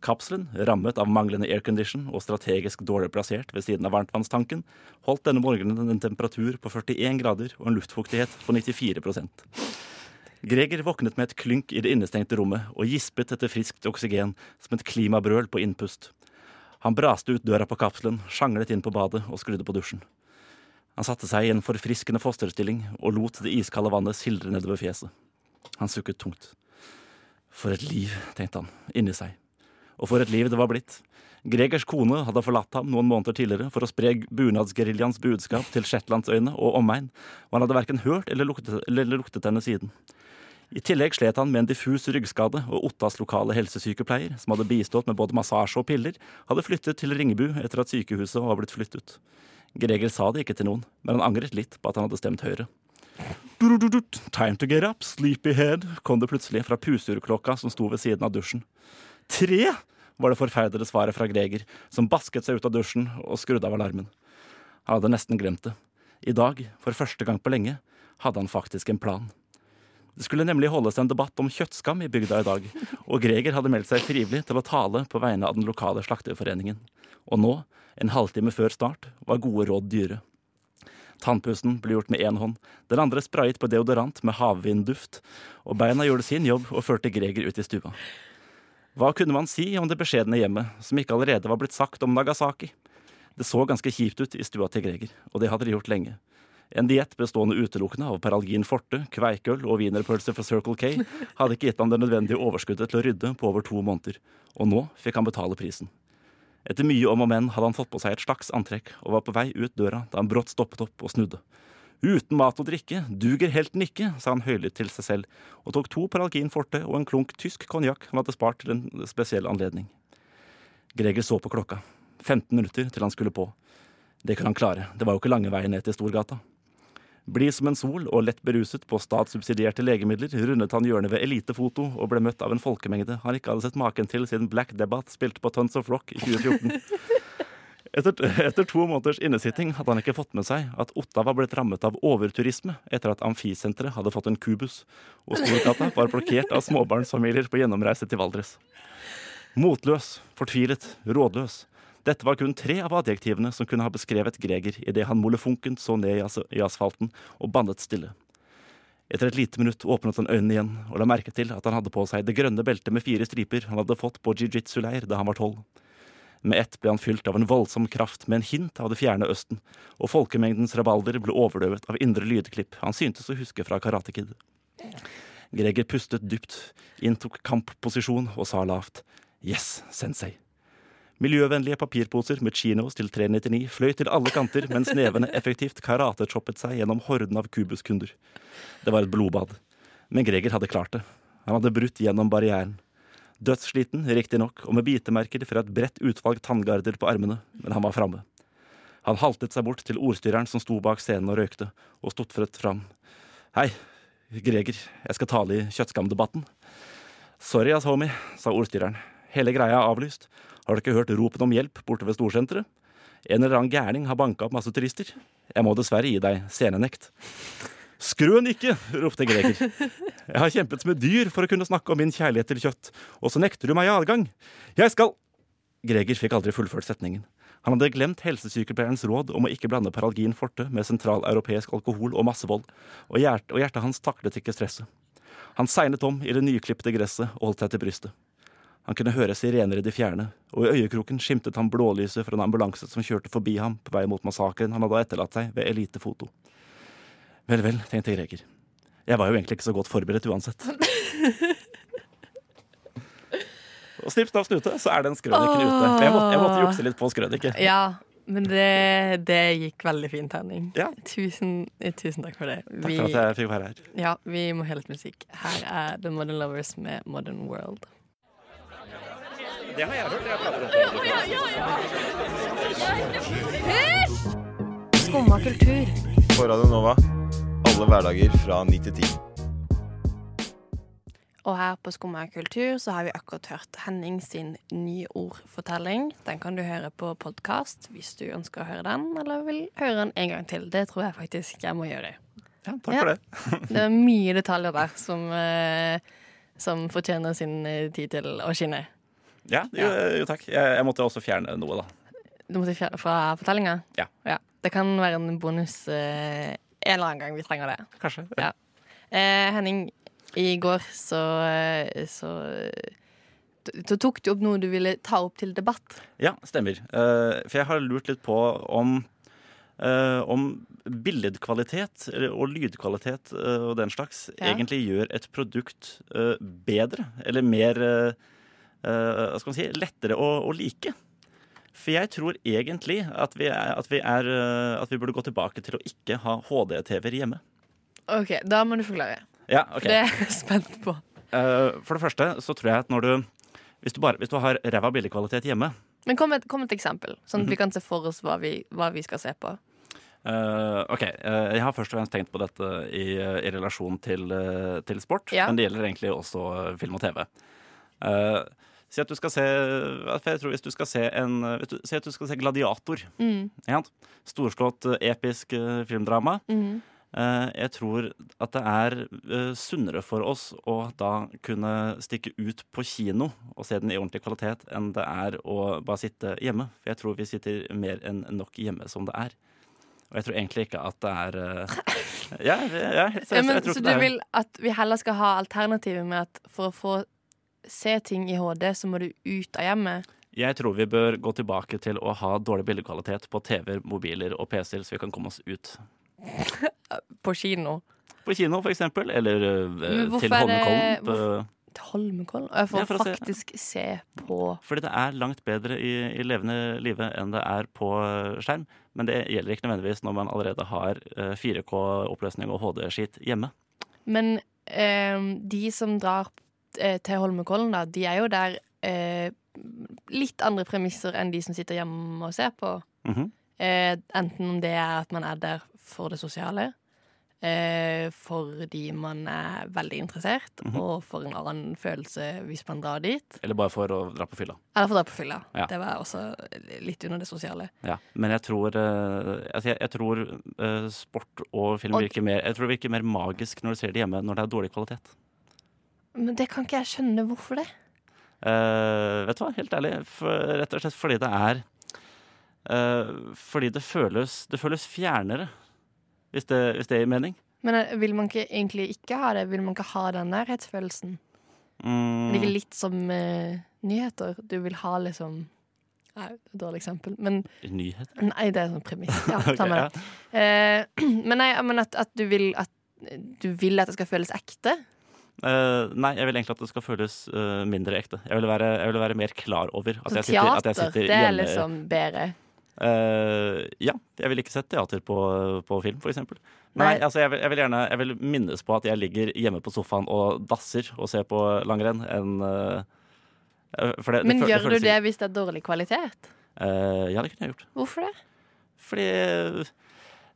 [SPEAKER 4] Kapselen, rammet av manglende aircondition og strategisk dårlig plassert ved siden av varmtvannstanken, holdt denne morgenen en temperatur på 41 grader og en luftfuktighet på 94 Greger våknet med et klynk i det innestengte rommet og gispet etter friskt oksygen som et klimabrøl på innpust. Han braste ut døra på kapselen, sjanglet inn på badet og skrudde på dusjen. Han satte seg i en forfriskende fosterstilling og lot det iskalde vannet sildre nedover fjeset. Han sukket tungt. For et liv, tenkte han, inni seg. Og for et liv det var blitt. Gregers kone hadde forlatt ham noen måneder tidligere for å spre bunadsgeriljaens budskap til Shetlandsøyene og omegn, og han hadde verken hørt eller luktet, eller luktet henne siden. I tillegg slet han med en diffus ryggskade, og Ottas lokale helsesykepleier, som hadde bistått med både massasje og piller, hadde flyttet til Ringebu etter at sykehuset var blitt flyttet. Greger sa det ikke til noen, men han angret litt på at han hadde stemt Høyre. «Durududut, Time to get up, sleepyhead, kom det plutselig fra pusurklokka som sto ved siden av dusjen. Tre! var det forferdede svaret fra Greger, som basket seg ut av dusjen og skrudde av alarmen. Han hadde nesten glemt det. I dag, for første gang på lenge, hadde han faktisk en plan. Det skulle nemlig holdes en debatt om kjøttskam i bygda i dag, og Greger hadde meldt seg frivillig til å tale på vegne av den lokale slakterforeningen. Og nå, en halvtime før start, var gode råd dyre. Tannpussen ble gjort med én hånd, den andre sprayet på deodorant med havvindduft, og beina gjorde sin jobb og førte Greger ut i stua. Hva kunne man si om det beskjedne hjemmet, som ikke allerede var blitt sagt om Nagasaki? Det så ganske kjipt ut i stua til Greger, og det hadde de gjort lenge. En diett bestående utelukkende av Peralgin Forte, kveikøl og wienerpølse fra Circle K hadde ikke gitt ham det nødvendige overskuddet til å rydde på over to måneder, og nå fikk han betale prisen. Etter mye om og men hadde han fått på seg et slags antrekk og var på vei ut døra da han brått stoppet opp og snudde. Uten mat og drikke duger helten ikke, sa han høylytt til seg selv, og tok to Paralgin Forte og en klunk tysk konjakk han hadde spart til en spesiell anledning. Greger så på klokka. 15 minutter til han skulle på. Det kunne han klare, det var jo ikke lange veien ned til Storgata. Blid som en sol og lett beruset på statssubsidierte legemidler rundet han hjørnet ved Elitefoto og ble møtt av en folkemengde han ikke hadde sett maken til siden Black Debbath spilte på Tons of Rock i 2014. Etter, etter to måneders innesitting hadde han ikke fått med seg at Otta var blitt rammet av overturisme etter at amfisenteret hadde fått en kubus, og Storgata var blokkert av småbarnsfamilier på gjennomreise til Valdres. Motløs, fortvilet, rådløs. Dette var kun tre av adjektivene som kunne ha beskrevet Greger idet han molefonkent så ned i as- i asfalten og bannet stille. Etter et lite minutt åpnet han øynene igjen og la merke til at han hadde på seg det grønne beltet med fire striper han hadde fått på jiu-jitsu-leir da han var tolv. Med ett ble han fylt av en voldsom kraft med en hint av det fjerne Østen, og folkemengdens rabalder ble overdøvet av indre lydklipp han syntes å huske fra Karate Kid. Greger pustet dypt, inntok kampposisjon og sa lavt Yes, sensei. Miljøvennlige papirposer med chinos til 399 fløy til alle kanter mens nevene effektivt karatechoppet seg gjennom horden av kubuskunder. Det var et blodbad. Men Greger hadde klart det. Han hadde brutt gjennom barrieren. Dødssliten, riktignok, og med bitemerker fra et bredt utvalg tanngarder på armene, men han var framme. Han haltet seg bort til ordstyreren som sto bak scenen og røykte, og stotfret fram. Hei, Greger, jeg skal tale i kjøttskamdebatten. Sorry, ass homie, sa ordstyreren. Hele greia er avlyst. Har du ikke hørt ropen om hjelp borte ved storsenteret? En eller annen gærning har banka opp masse turister. Jeg må dessverre gi deg scenenekt. Skru den ikke! ropte Greger. Jeg har kjempet med dyr for å kunne snakke om min kjærlighet til kjøtt, og så nekter du meg adgang. Jeg skal Greger fikk aldri fullført setningen. Han hadde glemt helsesykepleierens råd om å ikke blande Paralgin forte med sentraleuropeisk alkohol og massevold, og, hjert og hjertet hans taklet ikke stresset. Han segnet om i det nyklipte gresset og holdt seg til brystet. Han kunne høre sirener i det fjerne, og i øyekroken skimtet han blålyset fra en ambulanse som kjørte forbi ham på vei mot massakren han hadde etterlatt seg ved Elitefoto. Vel, vel, tenkte Greger. Jeg var jo egentlig ikke så godt forberedt uansett. Og snipp, snapp, snute, så er det en skrønik i ute. Men jeg måtte, jeg måtte jukse litt på skrøniket.
[SPEAKER 7] Ja, men det, det gikk veldig fint, Henning.
[SPEAKER 4] Ja.
[SPEAKER 7] Tusen, eh, tusen takk for det.
[SPEAKER 4] Takk for at jeg fikk være her.
[SPEAKER 7] ja, vi må høre litt musikk. Her er The Modern Lovers med Modern World.
[SPEAKER 4] Det har jeg hørt. Jeg
[SPEAKER 8] Skumma kultur.
[SPEAKER 9] På Radio Nova. Alle hverdager fra 9 til 10.
[SPEAKER 3] Og her på Skumma kultur så har vi akkurat hørt Henning sin nyordfortelling. Den kan du høre på podkast hvis du ønsker å høre den, eller vil høre den en gang til. Det tror jeg faktisk jeg må gjøre.
[SPEAKER 4] ja, takk for det.
[SPEAKER 3] Det er mye detaljer der som, eh, som fortjener sin eh, tid til å skinne.
[SPEAKER 4] Ja, jo, jo takk. Jeg, jeg måtte også fjerne noe, da.
[SPEAKER 3] Du måtte fjerne fra fortellinga?
[SPEAKER 4] Ja.
[SPEAKER 3] Det kan være en bonus eh, en eller annen gang vi trenger det.
[SPEAKER 4] Kanskje.
[SPEAKER 3] Ja. Eh, Henning, i går så, eh, så t- Så tok du opp noe du ville ta opp til debatt.
[SPEAKER 4] Ja, stemmer. Eh, for jeg har lurt litt på om eh, om billedkvalitet eller- og lydkvalitet eh, og den slags
[SPEAKER 3] Ja.
[SPEAKER 4] egentlig gjør et produkt eh, bedre, eller mer eh, eh, Hva skal man si lettere å, å like. For jeg tror egentlig at vi, er, at, vi er, eh, at vi burde gå tilbake til å ikke ha HD-TV-er hjemme.
[SPEAKER 3] OK, da må du forklare.
[SPEAKER 4] Ja, ok.
[SPEAKER 3] Det er jeg spent på.
[SPEAKER 4] Eh, for det første så tror jeg at når du Hvis du, bare, hvis du har ræva billedkvalitet hjemme,
[SPEAKER 3] Men kom med, kom med et eksempel, sånn at
[SPEAKER 4] Mhm.
[SPEAKER 3] vi kan se for oss hva vi, hva vi skal se på.
[SPEAKER 4] Eh, ok, eh, Jeg har først og fremst tenkt på dette i, eh, i relasjon til, eh, til sport,
[SPEAKER 3] Ja.
[SPEAKER 4] men det gjelder egentlig også eh, film og TV. Eh, si at du skal se eh, for jeg tror hvis du skal se en eh, vet du, Si at du skal se Gladiator. Ikke sant? Storslått, eh, episk eh, filmdrama.
[SPEAKER 3] Mhm.
[SPEAKER 4] Eh, jeg tror at det er eh, sunnere for oss å da kunne stikke ut på kino og se den i ordentlig kvalitet, enn det er å bare sitte hjemme. For jeg tror vi sitter mer enn nok hjemme som det er. Og jeg tror egentlig ikke at det er eh, Ja, jeg, jeg, er
[SPEAKER 3] Ja,
[SPEAKER 4] helt seriøs,
[SPEAKER 3] men,
[SPEAKER 4] jeg tror
[SPEAKER 3] så
[SPEAKER 4] ikke
[SPEAKER 3] du
[SPEAKER 4] det er
[SPEAKER 3] vil at vi heller skal ha alternativet med at for å få se ting i HD, så må du ut av hjemmet?
[SPEAKER 4] Jeg tror vi bør gå tilbake til å ha dårlig bildekvalitet på TV-er, mobiler og PC-er, så vi kan komme oss ut.
[SPEAKER 3] På kino?
[SPEAKER 4] På kino, for eksempel, eller eh,
[SPEAKER 3] Men hvorfor
[SPEAKER 4] til
[SPEAKER 3] er det-
[SPEAKER 4] Holmenkollen. eh, på-
[SPEAKER 3] Til Holmenkollen? Og jeg får
[SPEAKER 4] Ja, for å se.
[SPEAKER 3] faktisk se på
[SPEAKER 4] Fordi det er langt bedre i, i levende live enn det er på eh, skjerm. Men det gjelder ikke nødvendigvis når man allerede har eh, 4K-oppløsning og HD-skitt hjemme.
[SPEAKER 3] Men ehm, de som drar eh, til Holmenkollen, da, de er jo der eh, litt andre premisser enn de som sitter hjemme og ser på.
[SPEAKER 4] Mhm.
[SPEAKER 3] Eh, enten om det er at man er der for det sosiale, eh, fordi man er veldig interessert,
[SPEAKER 4] Mhm.
[SPEAKER 3] og for en annen følelse hvis man drar dit.
[SPEAKER 4] Eller bare for å dra på fylla.
[SPEAKER 3] Eller for å dra på fylla.
[SPEAKER 4] Ja.
[SPEAKER 3] Det var også litt under det sosiale.
[SPEAKER 4] Ja, men jeg tror, eh, altså jeg, jeg tror eh, sport og film
[SPEAKER 3] Og-
[SPEAKER 4] virker mer Jeg tror det virker mer magisk når du ser det hjemme, når det er dårlig kvalitet.
[SPEAKER 3] Men det kan ikke jeg skjønne hvorfor det.
[SPEAKER 4] Eh, vet du hva, helt ærlig, for, rett og slett fordi det er eh, Fordi det føles, det føles fjernere, hvis det, hvis det gir mening.
[SPEAKER 3] Men eh, vil man ikke, egentlig ikke ha det? Vil man ikke ha den nærhetsfølelsen?
[SPEAKER 4] Mm.
[SPEAKER 3] Det er ikke litt som eh, nyheter. Du vil ha liksom Nei, det er et dårlig eksempel. Men
[SPEAKER 4] Nyhet.
[SPEAKER 3] nei, det er en sånn premiss. Ja, ta med
[SPEAKER 4] Ok,
[SPEAKER 3] det. Eh, men nei, men at, at du vil at du vil at det skal føles ekte?
[SPEAKER 4] ja. Eh, nei, jeg vil egentlig at det skal føles eh, mindre ekte. Jeg vil, være, jeg vil være mer klar over at
[SPEAKER 3] Så
[SPEAKER 4] jeg sitter, at
[SPEAKER 3] teater,
[SPEAKER 4] jeg sitter
[SPEAKER 3] det er
[SPEAKER 4] hjemme.
[SPEAKER 3] liksom bedre.
[SPEAKER 4] Eh, ja, jeg vil ikke sett teater på, på film, for eksempel. Nei,
[SPEAKER 3] Nei.
[SPEAKER 4] altså jeg vil, jeg vil gjerne jeg vil minnes på at jeg ligger hjemme på sofaen og dasser og ser på langrenn enn eh, for det- det
[SPEAKER 3] Men
[SPEAKER 4] føl-
[SPEAKER 3] gjør
[SPEAKER 4] føles
[SPEAKER 3] du det hvis det er dårlig kvalitet?
[SPEAKER 4] ikke- Eh, ja, det kunne jeg gjort.
[SPEAKER 3] Hvorfor det?
[SPEAKER 4] Fordi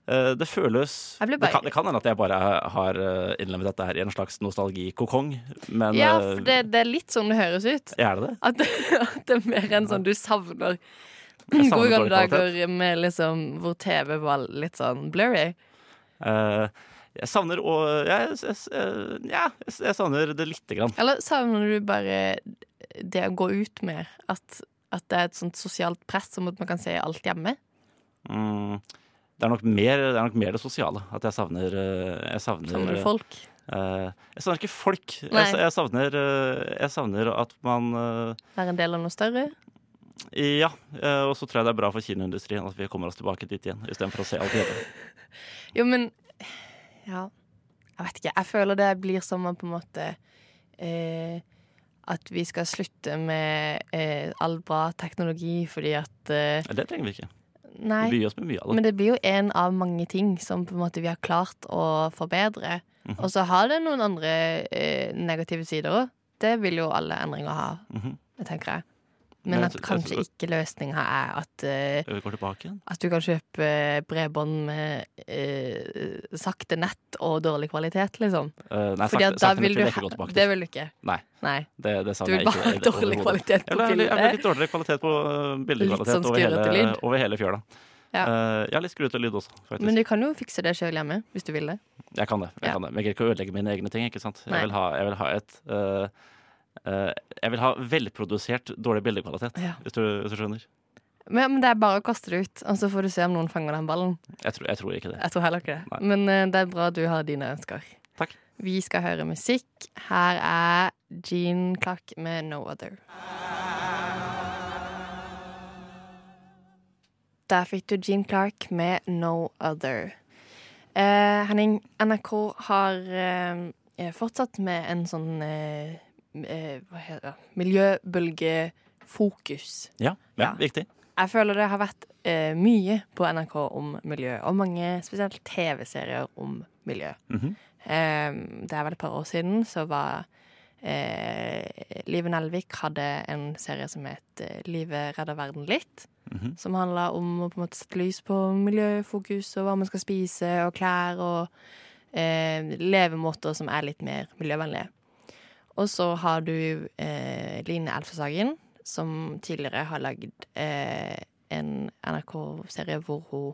[SPEAKER 4] eh, det føles
[SPEAKER 3] Jeg ble
[SPEAKER 4] det,
[SPEAKER 3] bare-
[SPEAKER 4] kan, det kan hende at jeg bare har eh, innlemmet dette her i en slags nostalgikokong, men
[SPEAKER 3] Ja,
[SPEAKER 4] eh,
[SPEAKER 3] for det, det er litt sånn det høres ut.
[SPEAKER 4] er det det?
[SPEAKER 3] At, at det er mer enn sånn du savner
[SPEAKER 4] Jeg savner
[SPEAKER 3] gode gamle
[SPEAKER 4] dårlig kvalitet.
[SPEAKER 3] dager med liksom hvor TV var litt sånn blurry.
[SPEAKER 4] Eh, jeg savner og jeg, jeg, jeg, ja, jeg, jeg savner det lite grann.
[SPEAKER 3] Eller savner du bare det å gå ut mer? At, at det er et sånt sosialt press som at man kan se alt hjemme?
[SPEAKER 4] Mm. Det er, nok mer, det er nok mer det sosiale. At jeg savner eh, Jeg savner,
[SPEAKER 3] Savner du folk?
[SPEAKER 4] eh, jeg savner ikke folk. Jeg,
[SPEAKER 3] Nei.
[SPEAKER 4] jeg, savner, eh, jeg savner at man
[SPEAKER 3] Være en del av noe større?
[SPEAKER 4] eh, Ja. eh, og så tror jeg det er bra for kinoindustrien at vi kommer oss tilbake dit igjen. Istedenfor å se alt hjemme.
[SPEAKER 3] Jo, men Ja. Jeg vet ikke. Jeg føler det blir som om på en måte eh, At vi skal slutte med eh, all bra teknologi fordi at eh,
[SPEAKER 4] Det trenger vi ikke. Vi
[SPEAKER 3] Nei.
[SPEAKER 4] byr oss med mye av det.
[SPEAKER 3] Men det blir jo en av mange ting som på en måte vi har klart å forbedre.
[SPEAKER 4] Mhm.
[SPEAKER 3] Og så har det noen andre eh, negative sider òg. Det vil jo alle endringer ha.
[SPEAKER 4] Mhm.
[SPEAKER 3] det tenker jeg. Men
[SPEAKER 4] Men jeg
[SPEAKER 3] at
[SPEAKER 4] tror- jeg
[SPEAKER 3] kanskje
[SPEAKER 4] tror-
[SPEAKER 3] ikke løsninga er at, eh,
[SPEAKER 4] Vi går tilbake igjen.
[SPEAKER 3] at du kan kjøpe bredbånd med eh, sakte nett og dårlig kvalitet, liksom.
[SPEAKER 4] Eh, nei,
[SPEAKER 3] Fordi
[SPEAKER 4] sakte,
[SPEAKER 3] at da
[SPEAKER 4] sakte
[SPEAKER 3] vil
[SPEAKER 4] vil
[SPEAKER 3] du
[SPEAKER 4] jeg
[SPEAKER 3] he-
[SPEAKER 4] ikke gå tilbake
[SPEAKER 3] Det
[SPEAKER 4] dit.
[SPEAKER 3] vil du ikke.
[SPEAKER 4] Nei,
[SPEAKER 3] Nei.
[SPEAKER 4] det, det
[SPEAKER 3] Du
[SPEAKER 4] savner
[SPEAKER 3] vil
[SPEAKER 4] jeg ikke.
[SPEAKER 3] bare ha
[SPEAKER 4] i det
[SPEAKER 3] dårlig
[SPEAKER 4] overhodet.
[SPEAKER 3] kvalitet på
[SPEAKER 4] Eller jeg vil- jeg vil
[SPEAKER 3] bildet.
[SPEAKER 4] litt dårligere kvalitet på øh, bildekvalitet
[SPEAKER 3] sånn
[SPEAKER 4] over,
[SPEAKER 3] skrurrete
[SPEAKER 4] hele,
[SPEAKER 3] lyd.
[SPEAKER 4] over hele fjøla.
[SPEAKER 3] Ja.
[SPEAKER 4] Eh, ja, litt skruete lyd også, faktisk.
[SPEAKER 3] Men du kan jo fikse det sjøl hjemme, hvis du vil det.
[SPEAKER 4] Jeg kan det. jeg
[SPEAKER 3] Ja.
[SPEAKER 4] kan det. Men jeg gidder ikke å ødelegge mine egne ting. ikke sant?
[SPEAKER 3] Nei.
[SPEAKER 4] Jeg vil ha, jeg vil ha et øh, øh, Jeg vil ha velprodusert dårlig bildekvalitet,
[SPEAKER 3] Ja.
[SPEAKER 4] hvis, du, hvis du skjønner.
[SPEAKER 3] Men, men det er bare å kaste det ut, og så får du se om noen fanger den ballen.
[SPEAKER 4] Jeg tror, jeg tror ikke det.
[SPEAKER 3] Jeg tror heller ikke det.
[SPEAKER 4] Nei.
[SPEAKER 3] Men eh, det er bra du har dine ønsker.
[SPEAKER 4] Takk.
[SPEAKER 3] Vi skal høre musikk. Her er Jean Clark med No Other. Der fikk du Jean Clark med No Other. Eh, Henning, NRK har eh, eh, fortsatt med en sånn eh, eh, Hva heter det? Miljøbølgefokus.
[SPEAKER 4] Ja, ja, viktig.
[SPEAKER 3] Jeg føler det har vært eh, mye på NRK om miljø, og mange spesielt TV-serier om miljø. Ehm,
[SPEAKER 4] Mhm.
[SPEAKER 3] Eh, det er vel et par år siden så var eh, Live Nelvik hadde en serie som het eh, 'Livet redder verden litt'. Som handla om å på en måte sette lys på miljøfokus og hva man skal spise, og klær og eh, levemåter som er litt mer miljøvennlige. Og så har du eh, Line Elfshagen, som tidligere har lagd eh, en NRK-serie hvor hun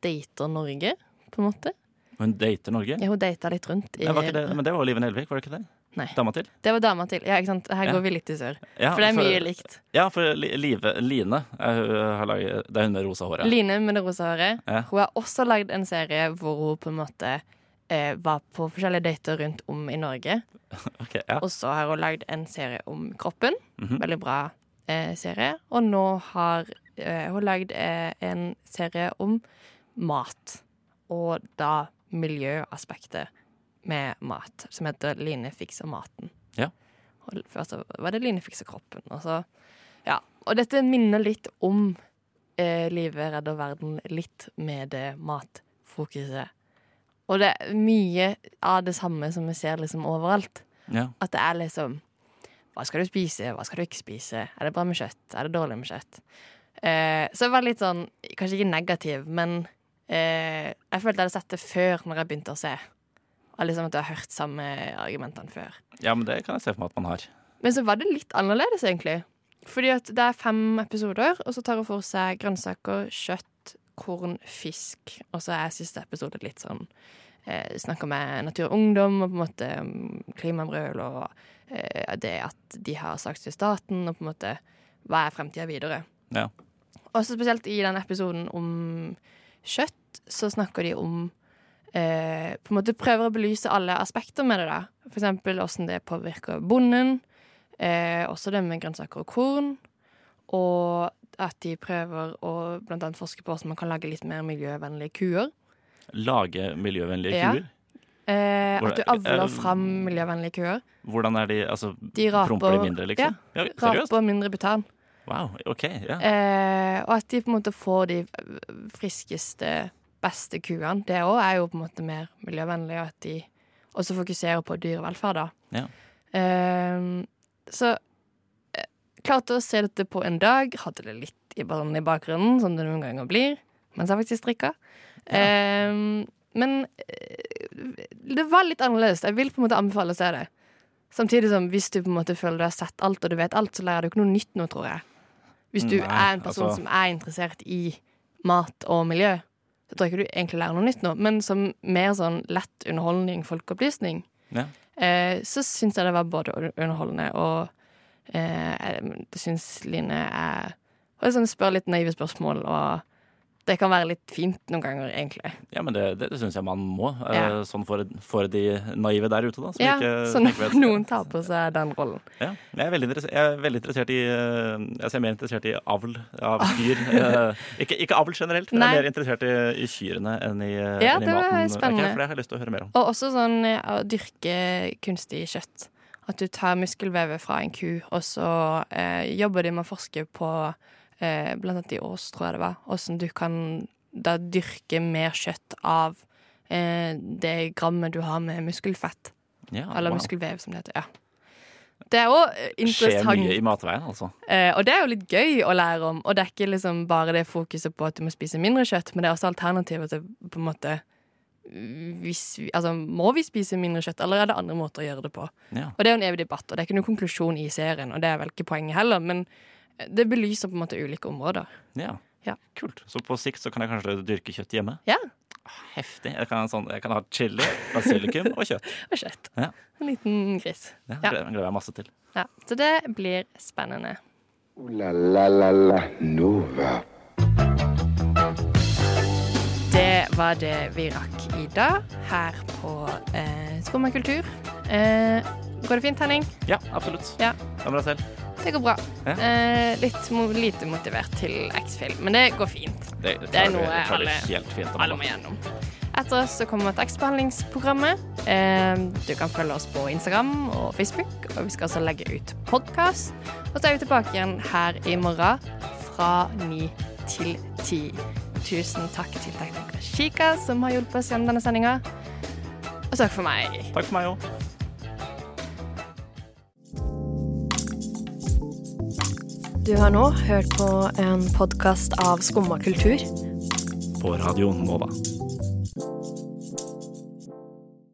[SPEAKER 3] dater Norge, på en måte.
[SPEAKER 4] Hun dater Norge?
[SPEAKER 3] Ja, hun data litt rundt. I,
[SPEAKER 4] Ja, var ikke det, men det var jo Live Nelvik, var det ikke det?
[SPEAKER 3] Nei.
[SPEAKER 4] Dama til?
[SPEAKER 3] Det var dama til. Ja, ikke sant? Her
[SPEAKER 4] Ja.
[SPEAKER 3] går vi litt i sør.
[SPEAKER 4] Ja,
[SPEAKER 3] For det er mye likt.
[SPEAKER 4] Ja, for Li- Live, Line er, hun har laget, Det er hun med rosa håret.
[SPEAKER 3] Line med det rosa håret.
[SPEAKER 4] Ja.
[SPEAKER 3] Hun har også lagd en serie hvor hun på en måte eh, var på forskjellige dater rundt om i Norge.
[SPEAKER 4] Ok, ja. Mhm.
[SPEAKER 3] Og så har hun lagd en serie om kroppen. Veldig bra eh, serie. Og nå har eh, hun lagd eh, en serie om mat. Og da miljøaspektet med mat, som heter 'Line fikser maten'.
[SPEAKER 4] Ja.
[SPEAKER 3] Og først så var det 'Line fikser kroppen'. Og, så, ja. og dette minner litt om eh, 'Livet redder verden' litt med det matfokuset. Og det er mye av det samme som vi ser liksom overalt.
[SPEAKER 4] ja.
[SPEAKER 3] At det er liksom Hva skal du spise, hva skal du ikke spise? Er det bra med kjøtt? Er det dårlig med kjøtt? Eh, så jeg var litt sånn Kanskje ikke negativ, men eh, jeg følte jeg hadde sett det før når jeg begynte å se. Og liksom at jeg har hørt samme argumentene før.
[SPEAKER 4] ja, men det kan jeg se for meg at man har.
[SPEAKER 3] Men så var det litt annerledes, egentlig. Fordi at det er fem episoder, og så tar hun for seg grønnsaker, kjøtt, korn, fisk. Og så er siste episode litt sånn eh, Snakker med Natur og Ungdom og på en måte mm, klimabrøl og eh, det at de har sagt til staten, og på en måte hva er fremtida videre.
[SPEAKER 4] Ja.
[SPEAKER 3] Og så spesielt i den episoden om kjøtt, så snakker de om eh, På en måte prøver å belyse alle aspekter med det, da. For eksempel åssen det påvirker bonden. Eh, også det med grønnsaker og korn. Og at de prøver å blant annet forske på hvordan man kan lage litt mer miljøvennlige kuer.
[SPEAKER 4] Lage miljøvennlige
[SPEAKER 3] Ja.
[SPEAKER 4] kuer.
[SPEAKER 3] Eh,
[SPEAKER 4] Hvordan-
[SPEAKER 3] at du avler
[SPEAKER 4] eh,
[SPEAKER 3] fram miljøvennlige kuer.
[SPEAKER 4] Hvordan er de altså,
[SPEAKER 3] De raper-
[SPEAKER 4] Promper de mindre, liksom? Ja, seriøst?
[SPEAKER 3] Raper mindre butan.
[SPEAKER 4] Wow, OK. Ja.
[SPEAKER 3] Eh, og at de på en måte får de friskeste, beste kuene. Det òg er jo på en måte mer miljøvennlig, og at de også fokuserer på dyrevelferd, da.
[SPEAKER 4] Ja.
[SPEAKER 3] Eh, så eh, klarte å se dette på en dag. Hadde det litt i, barn i bakgrunnen, som det noen ganger blir, mens jeg faktisk strikka. Eh, men eh, det var litt annerledes. Jeg vil på en måte anbefale å se det. Samtidig som hvis du på en måte føler du har sett alt og du vet alt, så lærer du ikke noe nytt nå, tror jeg. Hvis du
[SPEAKER 4] Nei,
[SPEAKER 3] er en person
[SPEAKER 4] altså-
[SPEAKER 3] som er interessert i mat og miljø, så tror jeg ikke du egentlig lærer noe nytt nå, men som mer sånn lett underholdning, folkeopplysning,
[SPEAKER 4] Ja.
[SPEAKER 3] eh, så syns jeg det var både un- underholdende og eh, jeg syns Line er Hun sånn, spør litt naive spørsmål, og det kan være litt fint noen ganger, egentlig.
[SPEAKER 4] Ja, men det, det, det syns jeg man må. eh,
[SPEAKER 3] Ja.
[SPEAKER 4] Sånn for, for de naive der ute, da. Som
[SPEAKER 3] Ja,
[SPEAKER 4] ikke,
[SPEAKER 3] så
[SPEAKER 4] som ikke vet.
[SPEAKER 3] noen tar på seg den rollen.
[SPEAKER 4] Ja. Men Jeg, er veldig interess- jeg er veldig interessert i eh, altså Jeg er mer interessert i avl av kyr. Eh, ikke, ikke avl generelt, men
[SPEAKER 3] Nei.
[SPEAKER 4] jeg er mer interessert i, i kyrne enn i, eh,
[SPEAKER 3] Ja,
[SPEAKER 4] enn i
[SPEAKER 3] det var
[SPEAKER 4] maten.
[SPEAKER 3] spennende.
[SPEAKER 4] Ok, for det har jeg lyst til å høre mer om.
[SPEAKER 3] Og også sånn eh, å dyrke kunstig kjøtt. At du tar muskelvevet fra en ku, og så eh, jobber de med å forske på eh, blant annet i Ås, tror jeg det var, åssen du kan da dyrke mer kjøtt av eh, det grammet du har med muskelfett.
[SPEAKER 4] Ja,
[SPEAKER 3] Eller
[SPEAKER 4] wow.
[SPEAKER 3] muskelvev, som det heter. Ja. Det er òg
[SPEAKER 4] Skjer
[SPEAKER 3] interessant.
[SPEAKER 4] mye i matveien, altså.
[SPEAKER 3] Eh, og det er jo litt gøy å lære om. Og det er ikke liksom bare det fokuset på at du må spise mindre kjøtt, men det er også alternativet til på en måte hvis vi, altså, Må vi spise mindre kjøtt, eller er det andre måter å gjøre det på?
[SPEAKER 4] Ja.
[SPEAKER 3] Og det er jo en evig debatt, og det er ikke noen konklusjon i serien, og det er vel ikke poenget heller, men det belyser på en måte ulike områder.
[SPEAKER 4] Ja.
[SPEAKER 3] Ja.
[SPEAKER 4] Kult. Så på sikt så kan jeg kanskje dyrke kjøtt hjemme?
[SPEAKER 3] Ja.
[SPEAKER 4] Heftig. Jeg kan, ha sånn, jeg kan ha chili, basilikum og kjøtt.
[SPEAKER 3] Og kjøtt.
[SPEAKER 4] Ja.
[SPEAKER 3] En liten gris.
[SPEAKER 4] Ja,
[SPEAKER 3] Ja.
[SPEAKER 4] gleder, gleder jeg masse til.
[SPEAKER 3] Ja. Så det blir spennende.
[SPEAKER 2] Ooh la la la la Nova.
[SPEAKER 3] Det var det vi rakk i dag her på eh, Skummakultur. Eh, går det fint, Henning?
[SPEAKER 4] Ja, absolutt.
[SPEAKER 3] Ja.
[SPEAKER 4] Hva med deg selv?
[SPEAKER 3] Det går bra.
[SPEAKER 4] Ja.
[SPEAKER 3] Eh, litt mo lite motivert til X-Film, men det går fint.
[SPEAKER 4] Det,
[SPEAKER 3] Det er
[SPEAKER 4] klarer vi-
[SPEAKER 3] noe
[SPEAKER 4] klarer vi
[SPEAKER 3] alle-
[SPEAKER 4] helt fint, Amanda.
[SPEAKER 3] Alle må gjennom. Etter oss så kommer tekstbehandlingsprogrammet. Eh, du kan følge oss på Instagram og Facebook, og vi skal også legge ut podkast. Og så er vi tilbake igjen her i morgen fra ni til ti. Tusen takk til tekniker Chica, som har hjulpet oss gjennom denne sendinga. Og takk for meg.
[SPEAKER 4] Takk for meg òg.
[SPEAKER 3] Du har nå hørt på en podkast av Skumma kultur.
[SPEAKER 4] På Radio Nova.